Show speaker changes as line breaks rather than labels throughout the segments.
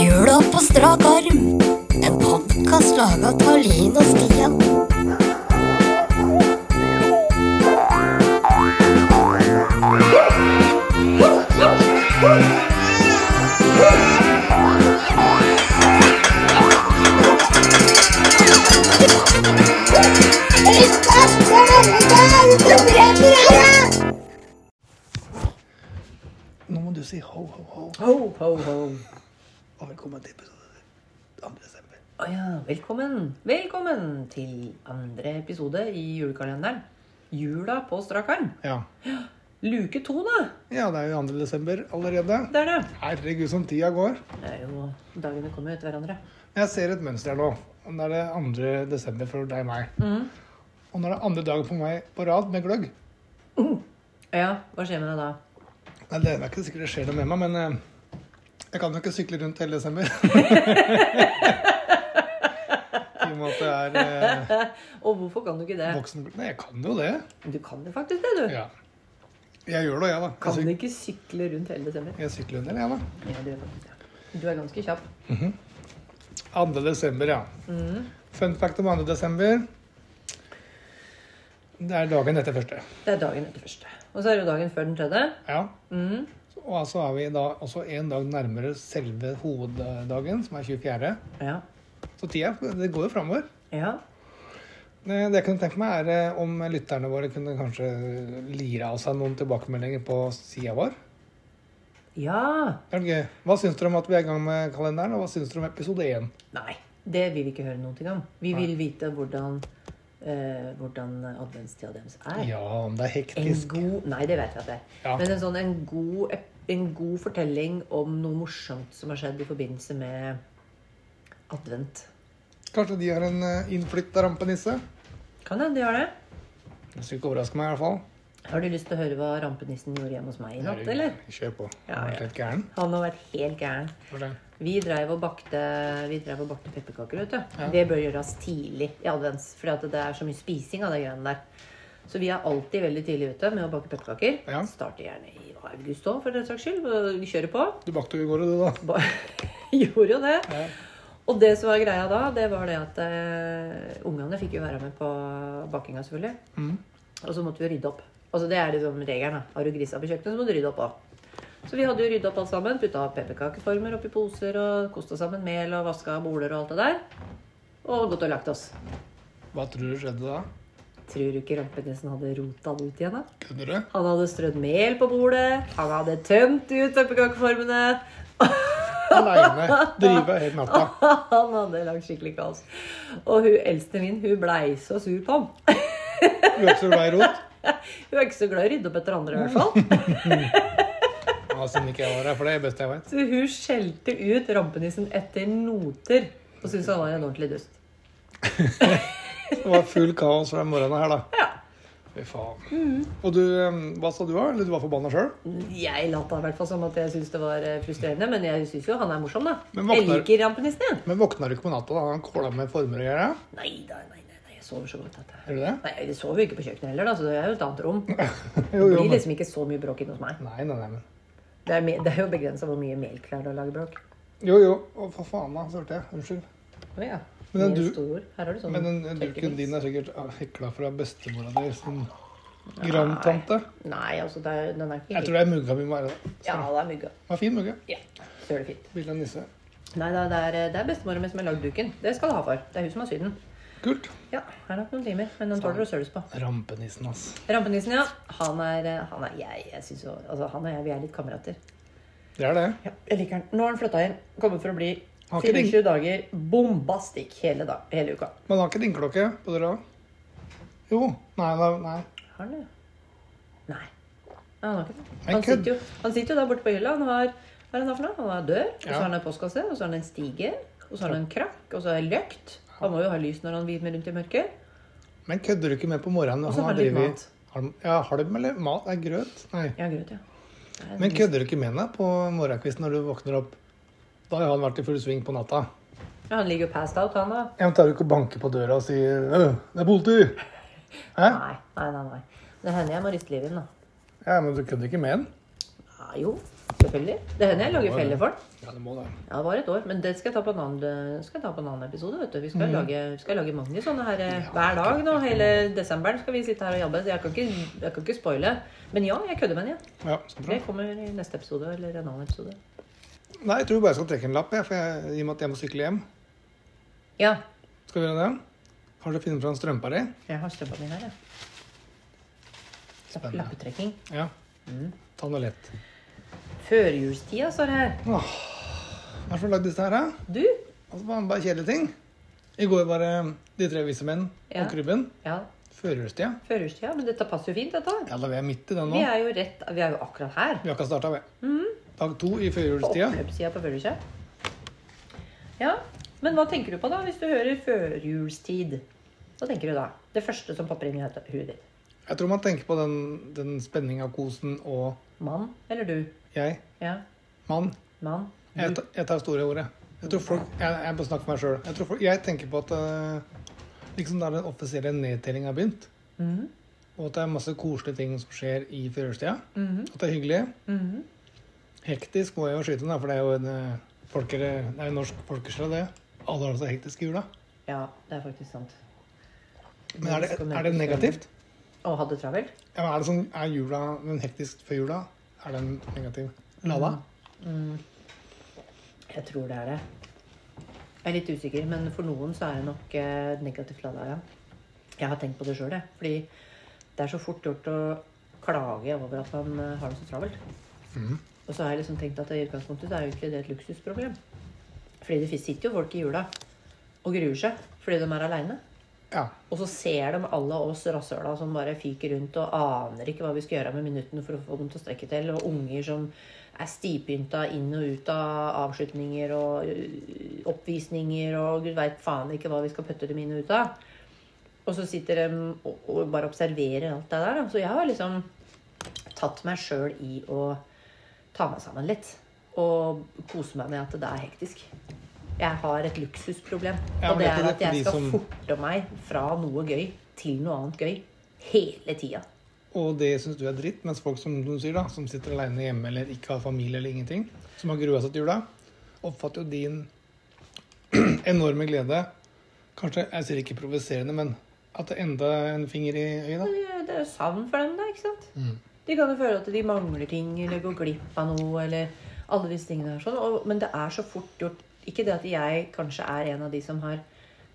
Jula på strak arm. En podkast laga av Linn og Stian.
Nå må du si ho, ho, ho,
Ho, ho, ho.
og velkommen til episode 2. desember.
Å ja, velkommen. Velkommen til andre episode i julekalenderen. Jula på strak arm.
Ja.
Luke to, da.
ja, det er jo 2. desember allerede.
Det er det.
Herregud, som tida går.
Det er jo Dagene kommer jo etter hverandre.
Jeg ser et mønster her nå. Nå er det 2. desember for deg og meg.
Mhm.
Og nå er det andre dagen for meg på rad med gløgg.
Ja, hva skjer med deg da?
Nei, det er ikke sikkert det skjer noe med meg, men eh, jeg kan jo ikke sykle rundt hele desember. I og med at det er eh,
Og hvorfor kan du ikke det?
voksen Nei, jeg kan jo det.
Du kan jo faktisk det, du.
Ja. Jeg gjør det, jeg, da. Jeg
Kan
syk-
du ikke sykle rundt hele desember?
Jeg sykler en del, jeg, da.
Ja, du, gjør faktisk det. du er ganske kjapp.
2. desember, ja.
Mhm.
Fun fact om 2. desember. Det er dagen etter første.
Det er dagen etter første. Og så er det jo dagen før den tredje.
Ja.
Mhm.
Og så er vi da også en dag nærmere selve hoveddagen, som er 24.
Ja.
Så tida det går jo framover.
Ja.
Det det jeg kunne tenke meg, er eh, om lytterne våre kunne kanskje lire av seg noen tilbakemeldinger på sida vår.
Ja.
Det er gøy. Hva syns dere om at vi er i gang med kalenderen, og hva syns dere om episode 1?
Nei, det vil vi ikke høre noe om. Vi vil vite hvordan, eh, hvordan adventstida deres er.
Ja, om det er
En
hektisk.
god Nei, det vet jeg at det er.
Ja.
Men en sånn en god, ep- en god fortelling om noe morsomt som har skjedd i forbindelse med advent.
Kanskje de har en eh, innflytta rampenisse?
Kan hende de har det.
Det skulle ikke overraske meg, i hvert fall.
Har du lyst til å høre hva rampenissen gjorde hjemme hos meg i natt, eller?
Kjør på.
Ja,
Han er
ja.
helt gæren.
Han har vært helt gæren.
For det.
Vi dreiv og bakte, vi drev og bakte pepperkaker, vet du. Det bør gjøres tidlig i advents, for det er så mye spising av de greiene der. Så vi er alltid veldig tidlig ute med å bake pepperkaker.
Ja.
Starter gjerne i august òg, for den saks skyld. og Vi kjører på.
Du bakte jo i går, du, da.
Ba Gjorde jo det.
Ja.
Og det som var greia da, det var det at eh, ungene fikk jo være med på bakinga, selvfølgelig. Og så måtte vi jo rydde opp. Altså Det er liksom regelen. da. Har du grisa på kjøkkenet, så må du rydde opp òg. Så vi hadde jo rydda opp alt sammen. Putta pepperkakeformer oppi poser og kosta sammen mel og vaska boler og alt det der. Og gått og lagt oss.
Hva tror du skjedde da?
Tror du ikke rampenissen hadde rota det ut igjen, da?
Kunne du?
Han hadde strødd mel på bordet. Han hadde tømt ut pepperkakeformene.
Aleine. Drive hele natta.
Han hadde lagt skikkelig kaos. Og hun eldste min, hun blei så sur på ham.
Løser du vei rot?
Hun er ikke så glad i å rydde opp etter andre, i hvert fall.
Mm. Ja, siden ikke jeg var her, for det er det beste jeg vet.
Så hun skjelte ut rampenissen etter noter og syntes han var en ordentlig dust.
Det var full kaos fra morgenen her, da.
Ja. Mm.
Fy faen. Og du, eh, hva sa du, da? Eller du var forbanna sjøl?
Jeg lata i hvert fall som at jeg syntes det var eh, frustrerende, men jeg syns jo han er morsom, da.
Men
Jeg
våkner-
liker rampenissen, jeg.
Men våkna du ikke på natta? da? Han kåla med former og greier? ja?
Nei da, nei, nei, nei, jeg sover så godt at jeg
Gjør du det?
Nei, jeg sover jo ikke på kjøkkenet heller, da, så det er jo et annet rom. Det
Jo, jo.
blir
Men...
liksom ikke så mye bråk inne hos meg.
Nei, nei, nei, men
Det er, me det er jo begrensa hvor mye mel klarer å lage bråk.
Jo, jo. Å, for faen, da. Så hørte jeg. Unnskyld.
Å ja.
Men den
Mer
du-
stor. Her har du sånn
Men den duken
tørkefiks.
din er sikkert ah, hekla fra bestemora di som grandtante.
Nei, altså det er, den er ikke
Jeg tror det er mugga vi må være. da.
Ja, det er mugga.
Det var fin mugge.
Ja, så er det fint.
Bilde av nisse.
Nei, da, det er, eh, det er bestemora mi som har lagd duken. Det skal du ha for. Det er hun som har sydd den.
Kult.
Ja, her er nok noen timer, men den tåler å søles på.
Rampenissen, ass.
Rampenissen, ja. Han er, eh, han er jeg, jeg synes jo Altså, han og jeg, vi er litt kamerater.
Det er det.
Ja, jeg liker han. Nå har han flytta inn. Kommet for å bli
Har ikke
24 dager bombastikk hele, dag, hele uka.
Man har ikke ringeklokke på døra? Jo. Nei, nei. nei.
Har han det? Nei. Nei, han har ikke det.
Men
Han
kødd.
sitter, jo, han sitter jo der borte på hylla. Han har, hva er det han har for noe? Han har dør, og så
Ja.
har han en postkasse, og så har han en stige, og så har han en krakk, og så har han løkt. Han må jo ha lys når han vil med rundt i mørket.
Men kødder du ikke med på morgenen?
Og så har de litt mat.
Har de, ja, har de eller mat? Det er grøt? Nei.
Ja, grøt, ja. Det er
Men
nesten-
kødder du ikke med henne på morgenkvisten når du våkner opp? Da har han vært i full sving på natta.
Ja, han ligger jo passed out, han da.
Jeg tar jo ikke å banke på døra og si «Øh, 'Det er politi!' Hæ?
Nei, nei, nei. nei. Det hender jeg må riste livet i den, da.
Ja, men du kødder ikke med den?
jo, selvfølgelig. Det hender jeg lager feller for den.
Ja, det må det.
Ja, det var et år, men det skal jeg ta på en annen, skal jeg ta på en annen episode. vet du. Vi
Mm.
skal, lage, vi skal lage mange sånne her eh, hver dag nå. Hele desemberen skal vi sitte her og jobbe. så Jeg kan ikke, jeg kan ikke spoile. Men ja, jeg kødder med den. Ja.
Ja, så bra.
Det kommer i neste episode eller en annen episode.
Nei, jeg tror bare jeg skal trekke en lapp, jeg, for jeg, i og med at jeg må sykle hjem.
Ja.
Skal vi gjøre det? Kanskje finne fram strømpa di?
Jeg har strømpa mi her, jeg.
Spennende.
Lappetrekking.
Ja. Mm. Ta noe lett.
Førjulstida står det her.
Åh, Hva er det som har lagd disse her, da?
Du?
Altså, bare bare kjedelige ting. I går var det De tre vise menn
Ja.
og Krybben.
Ja.
Førjulstida.
Førjulstida. Men dette passer jo fint, dette.
Ja, da er vi midt i den nå.
Vi er jo rett Vi er jo akkurat her.
Vi har ikke starta, vi. Dag to i førjulstida.
Oppløpssida på førjulstida. Ja, men hva tenker du på da, hvis du hører førjulstid? Hva tenker du da? Det første som popper inn i huet ditt.
Jeg tror man tenker på den, den spenninga, kosen og
Mann eller du?
jeg.
Ja,
Mann.
mann.
Jeg, ta- jeg tar store ordet. Jeg tror folk, jeg, jeg må snakke for meg sjøl. Jeg, tror folk- jeg tenker på at eh, liksom da den offisielle nedtellinga har begynt,
Mhm.
og at det er masse koselige ting som skjer i førjulstida.
mm-hmm,
At det er hyggelig.
Mhm.
Hektisk må jeg jo skyte den, da, for det er jo en eh, folkere, det er en norsk folkesjel, det. Alle har det så hektisk i jula.
Ja, det er faktisk sant.
Men er det, er det negativt?
Å ha det travelt?
Ja, men er, det sånn, er jula den hektisk før jula? Er den negativ? Mm. Lada?
Jeg tror det er det. Jeg er litt usikker, men for noen så er det nok eh, negativt lada, ja. Jeg har tenkt på det sjøl, jeg. Fordi det er så fort gjort å klage over at man eh, har det så travelt. Og så har jeg liksom tenkt at i utgangspunktet så er jo ikke det et luksusproblem. Fordi det sitter jo folk i jula og gruer seg fordi de er aleine.
Ja.
Og så ser de alle oss rasshøla som bare fyker rundt og aner ikke hva vi skal gjøre med minuttene for å få dem til å strekke til. Og unger som er stivpynta inn og ut av avslutninger og øh, oppvisninger og gud veit faen ikke hva vi skal putte dem inn og ut av. Og så sitter de og, og bare observerer alt det der. Da. Så jeg har liksom tatt meg sjøl i å ta meg sammen litt. Og kose meg med at det er hektisk. Jeg har et luksusproblem.
Ja,
og
men det
det
er
er
ikke
at
det for
jeg
de
skal
som-
forte meg fra noe gøy til noe annet gøy. Hele tida.
Og det syns du er dritt, mens folk som du sier da, som sitter aleine hjemme eller ikke har familie eller ingenting, som har grua seg til jula, oppfatter jo din enorme glede Kanskje jeg sier ikke provoserende, men at det enda er en finger i øyet, da.
Det det er jo savn for dem, da. ikke sant? De kan jo føle at de mangler ting, eller går glipp av noe, eller alle disse tingene her. Sånn. Og, men det er så fort gjort. Ikke det at jeg kanskje er en av de som har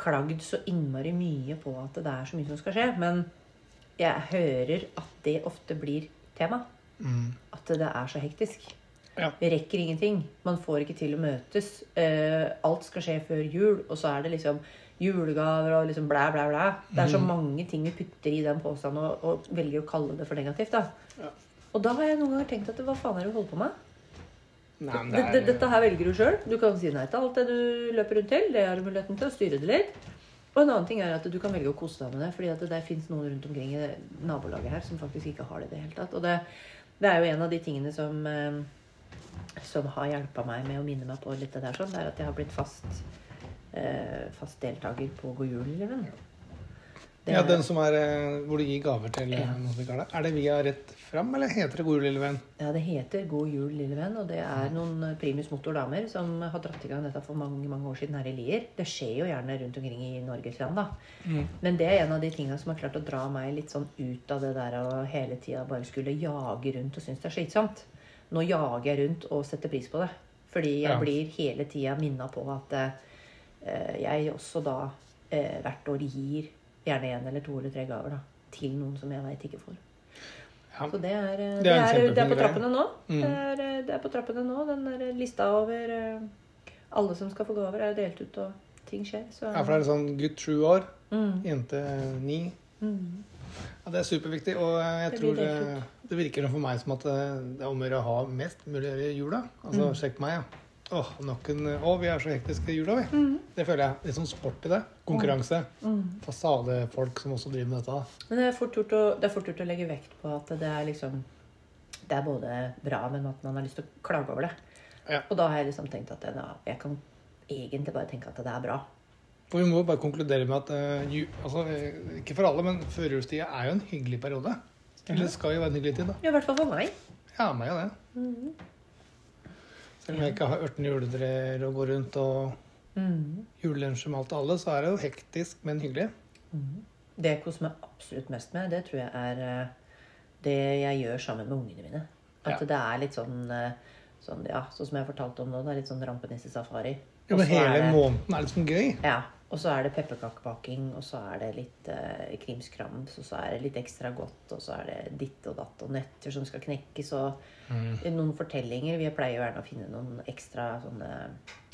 klagd så innmari mye på at det er så mye som skal skje, men jeg hører at det ofte blir tema. At det er så hektisk.
Ja.
Vi rekker ingenting. Man får ikke til å møtes. Eh, alt skal skje før jul, og så er det liksom julegaver og liksom blæ, blæ, blæ. Det er så mange ting vi putter i den posen og, og velger å kalle det for negativt. da. Og da har jeg noen ganger tenkt at hva faen er det du holder på med?
Nei, men
Dette, dette her velger du sjøl. Du kan si nei til alt det du løper rundt til. Det har du muligheten til å styre det litt. Og en annen ting er at du kan velge å kose deg med det, fordi at det fins noen rundt omkring i det nabolaget her som faktisk ikke har det i det hele tatt. Og det, det er jo en av de tingene som, eh, som har hjulpet meg med å minne meg på litt det der sånn, det er at jeg har blitt fast, eh, fast deltaker på God jul-eleven.
ja, den som er eh, hvor du gir gaver til eh,
Ja.
noen vi kaller det. Er det via rett fram, eller heter det God jul, lille venn?
Ja, det heter God jul, lille venn, og det er noen eh, primus motor damer som har dratt i gang dette for mange mange år siden her i Lier. Det skjer jo gjerne rundt omkring i Norges land, da. Men det er en av de tinga som har klart å dra meg litt sånn ut av det der å hele tida bare skulle jage rundt og synes det er slitsomt. Nå jager jeg rundt og setter pris på det. Fordi jeg
Ja.
blir hele tida minna på at eh, jeg også da eh, hvert år gir gjerne én eller to eller tre gaver da, til noen som jeg veit ikke får.
Ja.
Så det er, eh,
Det
det
er en Mm.
er, det er
kjempefin
på
greie.
trappene nå. Det, er, eh, det er på trappene nå. Den der eh, lista over eh, alle som skal få gaver, er jo delt ut, og ting skjer. Så Mm.
Ja, for det er sånn gutt sju år, jente eh, ni. Ja, det er superviktig, og eh, jeg
Det blir
tror
delt
eh, det virker for meg som at eh, det er om å gjøre å ha mest mulig i jula. Altså,
Mm.
sjekk meg, ja. Åh, nok en Å, vi er så hektiske i jula, vi.
Mm.
Det føler jeg. Litt sånn sport i det. Konkurranse. Fasadefolk som også driver med dette. da.
Men det er, fort gjort å, det er fort gjort å legge vekt på at det er liksom Det er både bra, men at man har lyst til å klage over det.
Ja.
Og da har jeg liksom tenkt at det, da, jeg kan egentlig bare tenke at det er bra.
For vi må jo bare konkludere med at eh, ju, altså, eh, ikke for alle, men førjulstida er jo en hyggelig periode. Eller det skal jo være en hyggelig tid, da.
Ja, I hvert fall for meg.
Jeg har med meg det. Selv om jeg ikke har 18 juletrær og går rundt og
Mhm.
julelunsjer med alt og alle, så er det jo hektisk, men hyggelig.
Det jeg koser meg absolutt mest med, det tror jeg er eh, det jeg gjør sammen med ungene mine.
Ja.
At det er litt sånn, eh, sånn Ja, sånn som jeg fortalte om nå, det er litt sånn rampenissesafari.
Jo,
Og
men
så er
hele
det-
måneden er liksom gøy.
Ja. Og så er det pepperkakebaking, og så er det litt eh, krimskrams, og så er det litt ekstra godt, og så er det ditt og datt og nøtter som skal knekkes, og
Mm.
noen fortellinger. Vi pleier jo gjerne å finne noen ekstra sånne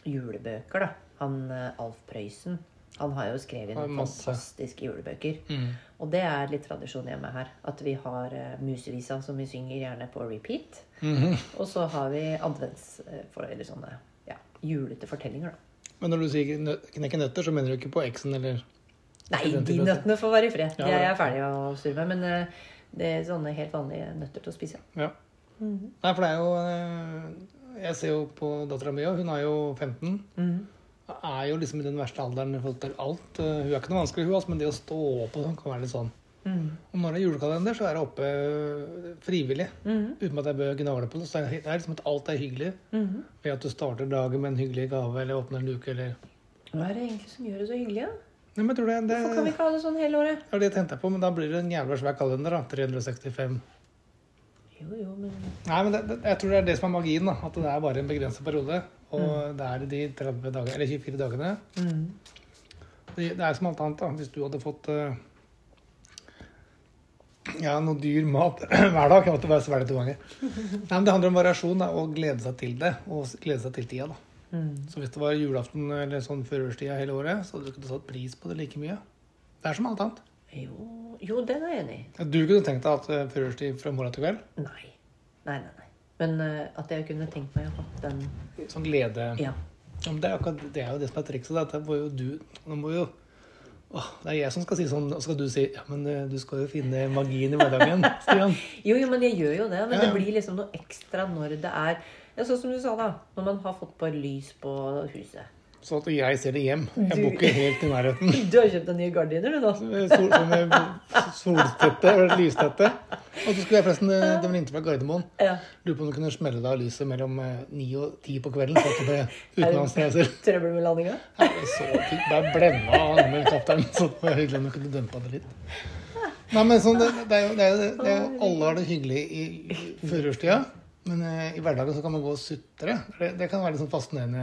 julebøker, da. Han eh, Alf Prøysen, han har jo skrevet
Har
noen
masse. Mm.
fantastiske julebøker. Og det er litt tradisjon hjemme her. At vi har eh, musevisa som vi synger gjerne på repeat.
Mm-hmm.
Og så har vi advents... eh, for- eller sånne ja, julete fortellinger, da.
Men når du sier nø- knekke nøtter, så mener du ikke på eksen eller
Nei,
Studenter
de
vet du.
nøttene får være i fred.
Ja,
De er
ja.
jeg ferdig å surre med. Men eh, det er sånne helt vanlige nøtter til å spise.
Ja. Nei, for det er jo eh, Jeg ser jo på dattera mi òg. Hun er jo 15. Er jo liksom i den verste alderen i forhold til alt. Eh, Hun er ikke noe vanskelig, hun, altså, men det å stå opp og sånn kan være litt sånn.
Mm-hmm.
Og når det er julekalender, så er det oppe eh, frivillig.
Mm-hmm.
Uten at jeg bør gnavle på det. Så det er liksom at alt er hyggelig.
Mm-hmm.
Ved at du starter dagen med en hyggelig gave eller åpner en luke eller
Hva er det egentlig som gjør det så hyggelig? da?
Nei, men jeg tror det, det,
Hvorfor kan vi ikke ha det sånn hele året?
det var det jeg tenkte på, men da blir det en jævla svær kalender, da. 365.
Jo, jo, men
Nei, men det, det, jeg tror det er det som er magien. da, At det er bare en begrenset periode. Og
Mm.
det er de 30 dager, eller 24 dagene.
Mm-hmm.
Det, det er som alt annet. da, Hvis du hadde fått eh, ja, noe dyr mat hver dag Jeg måtte bare svelge to ganger. Nei, men Det handler om variasjon da, og glede seg til det. Og s- glede seg til tida. da. Så hvis det var julaften eller sånn førjulstida hele året, så hadde du ikke satt pris på det like mye. Det er som alt annet.
Jo, jo den er jeg enig i.
Du kunne tenkt deg at eh, førjulstid fra morgen til kveld
Nei. Nei, nei, nei. Men eh, at jeg kunne tenkt meg å ha den
Sånn glede
Ja.
Ja, men det, er jo akkurat, det er jo det som er trikset. da, at Det må jo du Nå må jo åh, Det er jeg som skal si sånn, og så skal du si Ja, men eh, du skal jo finne magien i hverdagen, Stian.
Jo, jo, men jeg gjør jo det. Men
Ja, ja.
det blir liksom noe ekstra når det er ja, Sånn som du sa, da. Når man har fått på lys på huset.
Så at jeg ser det hjem. Jeg
Du-
bor ikke helt i nærheten.
Du har kjøpt deg nye gardiner, du, da.
Eh, Sol, sånn eh, soltette eller lystette. Og så skulle jeg forresten eh, Det var inntil fra Gardermoen.
Ja.
Lurer på om du kunne smelle deg av lyset mellom eh, ni og ti på kvelden. For at det ble utenlandsreiser.
Trøbbel med landinga?
Ja, det er så fint. Det er blenda av med kapteinen, så det var hyggelig om du kunne dømpa det litt. Nei, men sånn, det, det er jo, det er jo, det er jo Alle har det hyggelig i førjulstida, men eh, i hverdagen så kan man gå og sutre. Det, det kan være litt sånn fascinerende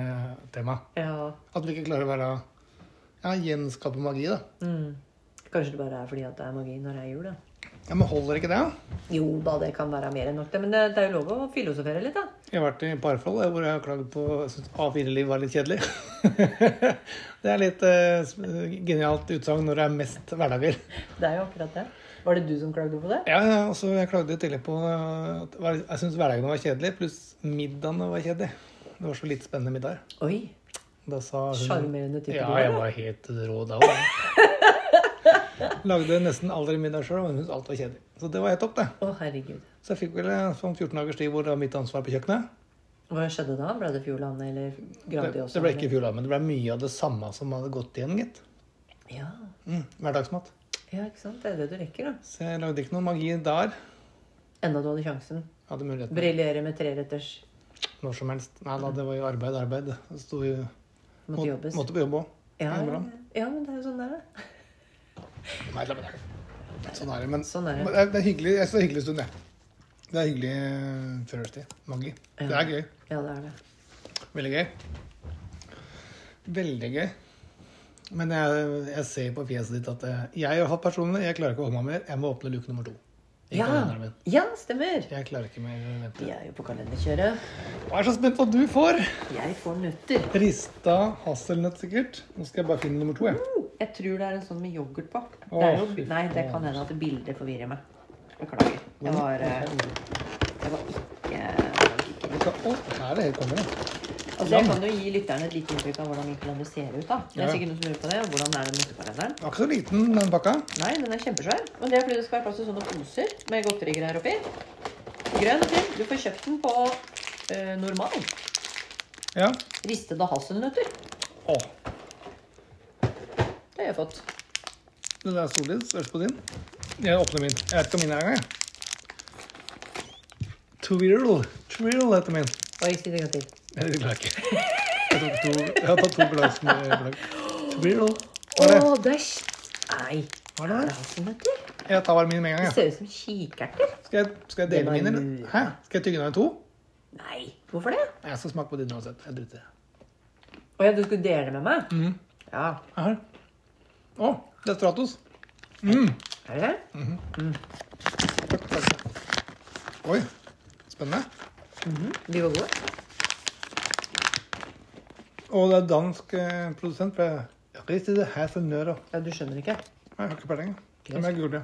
tema.
Ja.
At vi ikke klarer å være ja, gjenskape magi, da.
mm. Kanskje det bare er fordi at det er magi når det er jul, da.
Ja, Men holder ikke det? da?
Jo da, det kan være mer enn nok, det. Men det, det er jo lov å filosofere litt, da.
Jeg har vært i parforhold jeg, hvor jeg har klagd på jeg synes A4-liv var litt kjedelig. det er litt eh, genialt utsagn når det er mest hverdager.
Det er jo akkurat det. Var det du som klagde på det?
Ja, ja, og så jeg klagde jo tidligere på eh, at hver- jeg syntes hverdagene var kjedelig, pluss middagene var kjedelig. Det var så litt spennende middag.
Oi!
Da sa hun
Sjarmerende type
Ja,
du er,
jeg
da.
var helt rå da òg. Lagde nesten aldri middag sjøl, men hun syntes alt var kjedelig. Så det var helt topp, det.
Å, herregud.
Så jeg fikk vel eh, sånn 14 dagers tid hvor det var mitt ansvar på kjøkkenet.
Hva skjedde da? Ble det Fjordland eller
Det,
Grandi også?
det ble ikke fjor, da, men det ble mye av det samme som hadde gått igjen, gitt.
Ja.
Mm, hverdagsmat.
ja, ikke sant. Det er det du rekker, da.
Så jeg lagde ikke noe magi der.
Enda du hadde sjansen.
Hadde muligheten.
Briljere med treretters.
Når som helst. Nei da, det var jo arbeid, arbeid. Det sto jo
Måtte jobbes.
Måtte på jobb òg.
Ja, ja, ja, men det er jo sånn det er, da.
Nei, la meg det. Sånn er det. Men
Sånn er det.
men det. er- det er hyggelig. Jeg synes det er hyggelig stund, jeg. Det er hyggelig eh, førjulstid. Magi. Det er gøy.
Ja, det er det.
Veldig gøy. Veldig gøy. Men jeg, jeg ser på fjeset ditt at eh, jeg har hatt personene. Jeg klarer ikke å holde meg mer. Jeg må åpne luke nummer to. i
Ja,
kalenderen min.
ja stemmer.
Jeg klarer ikke mer å vente.
Vi er jo på kalenderkjøret.
Jeg er så spent på hva du får.
Jeg får nøtter.
Rista hasselnøtt, sikkert. Nå skal jeg bare finne nummer to. Jeg.
Jeg tror det er en sånn med yoghurt på.
Åh,
Det er jo,
fy
nei, det kan hende at bildet forvirrer meg. Beklager. Det var, eh, det var ikke
Vet du hva? Å, her er det helt konge.
Altså, Jeg kan jo gi lytterne et lite inntrykk av hvordan min kalender ser ut. da. Det
Ja.
er sikkert noen som lurer på det. og Hvordan er den nøttekalenderen?
Den var ikke så liten, den pakka.
Nei, den er kjempesvær. Men det er fordi det skal være plass til sånne poser med godterigreier oppi. Grønn og fin. Du får kjøpt den på eh, normal.
Ja.
Ristede hasselnøtter.
Å,
Det har jeg fått.
Den er solid. Størst på din. Jeg åpner min. Jeg vet ikke om min er engang. jeg. Twirl. Twirl heter min.
Oi, si det en gang til.
Nei, det klarer jeg ikke. Jeg, tok to, jeg har tatt to glass med gløgg. Twirl.
Å,
Hva er det?
det er kj- Nei.
Hva er det
Hva er
der?
det som heter?
Jeg tar bare min med en gang.
Det
jeg.
ser ut som kikerter.
Skal jeg, skal jeg
Det
dele
var
min, eller?
mye.
Hæ? Skal jeg tygge den i to?
Nei. Hvorfor det?
Nei, Jeg skal smake på din uansett. Jeg driter i det.
Å ja, du skulle dele med meg?
Mm.
Ja.
Her. Å, det er Stratos. Mm.
Er det?
Takk, takk. Oi, spennende.
De var gode?
Og det er dansk eh, produsent. for jeg- Rist i det her som nører.
Ja, du skjønner ikke.
Nei, Jeg har ikke peiling. jeg. Den er gul, ja.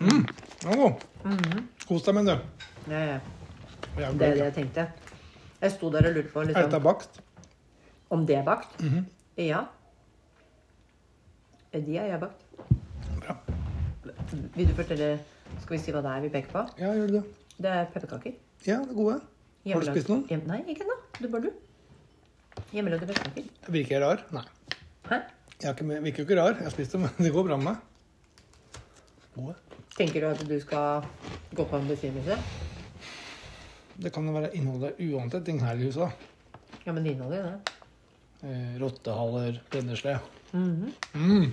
Mm. Den var god. Kos deg med den, du.
Ja, ja.
Vi har gløgg,
Det Mm-hmm. er det
ja.
jeg tenkte. Jeg sto der og lurte på
Er Mhm. dette
liksom,
bakst?
om det er bakt. Ja. De er jeg bakt.
Bra.
Vil du fortelle Skal vi si hva det er vi peker på?
Ja, gjør du det.
Det er pepperkaker.
Ja, det er gode. Har du
Hjemmelag-
spist noen?
Hjem, nei, ikke ennå. Du bare du. Hjemmelagde pepperkaker.
Virker jeg rar? Nei.
Hæ?
Jeg er ikke, med- virker jo ikke rar. Jeg har spist dem, men det går bra med meg. Gode.
Tenker du at du skal gå på en besvimelse?
Det kan jo være innholdet uante ting her i huset. da.
Ja, men det inneholder jo det.
Eh, Rottehaler, brennesle.
Mhm.
Mm.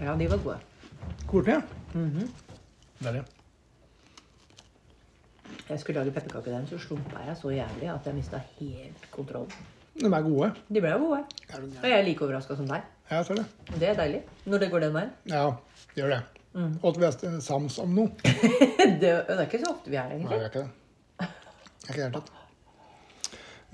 Ja, de var gode.
Kortene, ja. Mhm. Deilig.
Jeg skulle lage pepperkakedeig, så slumpa jeg så jævlig at jeg mista helt kontrollen.
De er gode.
De ble jo gode. Og jeg er like overraska som deg.
Ja, jeg ser det.
Og det er deilig. Når det går den veien.
Ja, gjør det. Og at vi er st- sams om noe. Nei,
Det, det er ikke så ofte vi er det,
vi
egentlig.
er ikke det. Jeg er ikke i det hele tatt.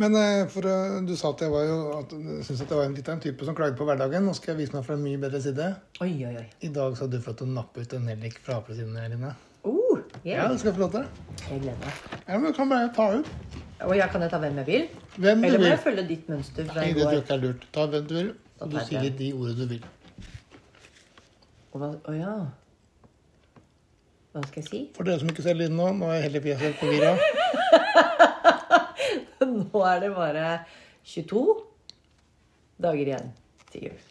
Men eh, for, eh, du sa at jeg var jo at, du syntes at jeg var en, litt av en type som klager på hverdagen. Nå skal jeg vise meg fra en mye bedre side.
Oi, oi, oi.
I dag skal du få lov til å nappe ut en nellik fra apesidene dine.
Uh,
Ja,
yeah.
det skal jeg få lov til.
Jeg gleder meg.
Ja, men du kan bare ta ut.
Og jeg kan jeg ta hvem jeg vil?
Hvem du
Eller må
vil.
jeg følge ditt mønster
Mm.
fra
Nei,
i
det tror jeg
går?
ikke er lurt. Ta hvem du vil, og du
Da tar jeg
sier de ordene du vil.
Og hva, å ja. Hva skal jeg si?
For dere som ikke ser lyden nå, nå er jeg heller fjeset forvirra.
Nå er det bare 22 dager igjen til jul.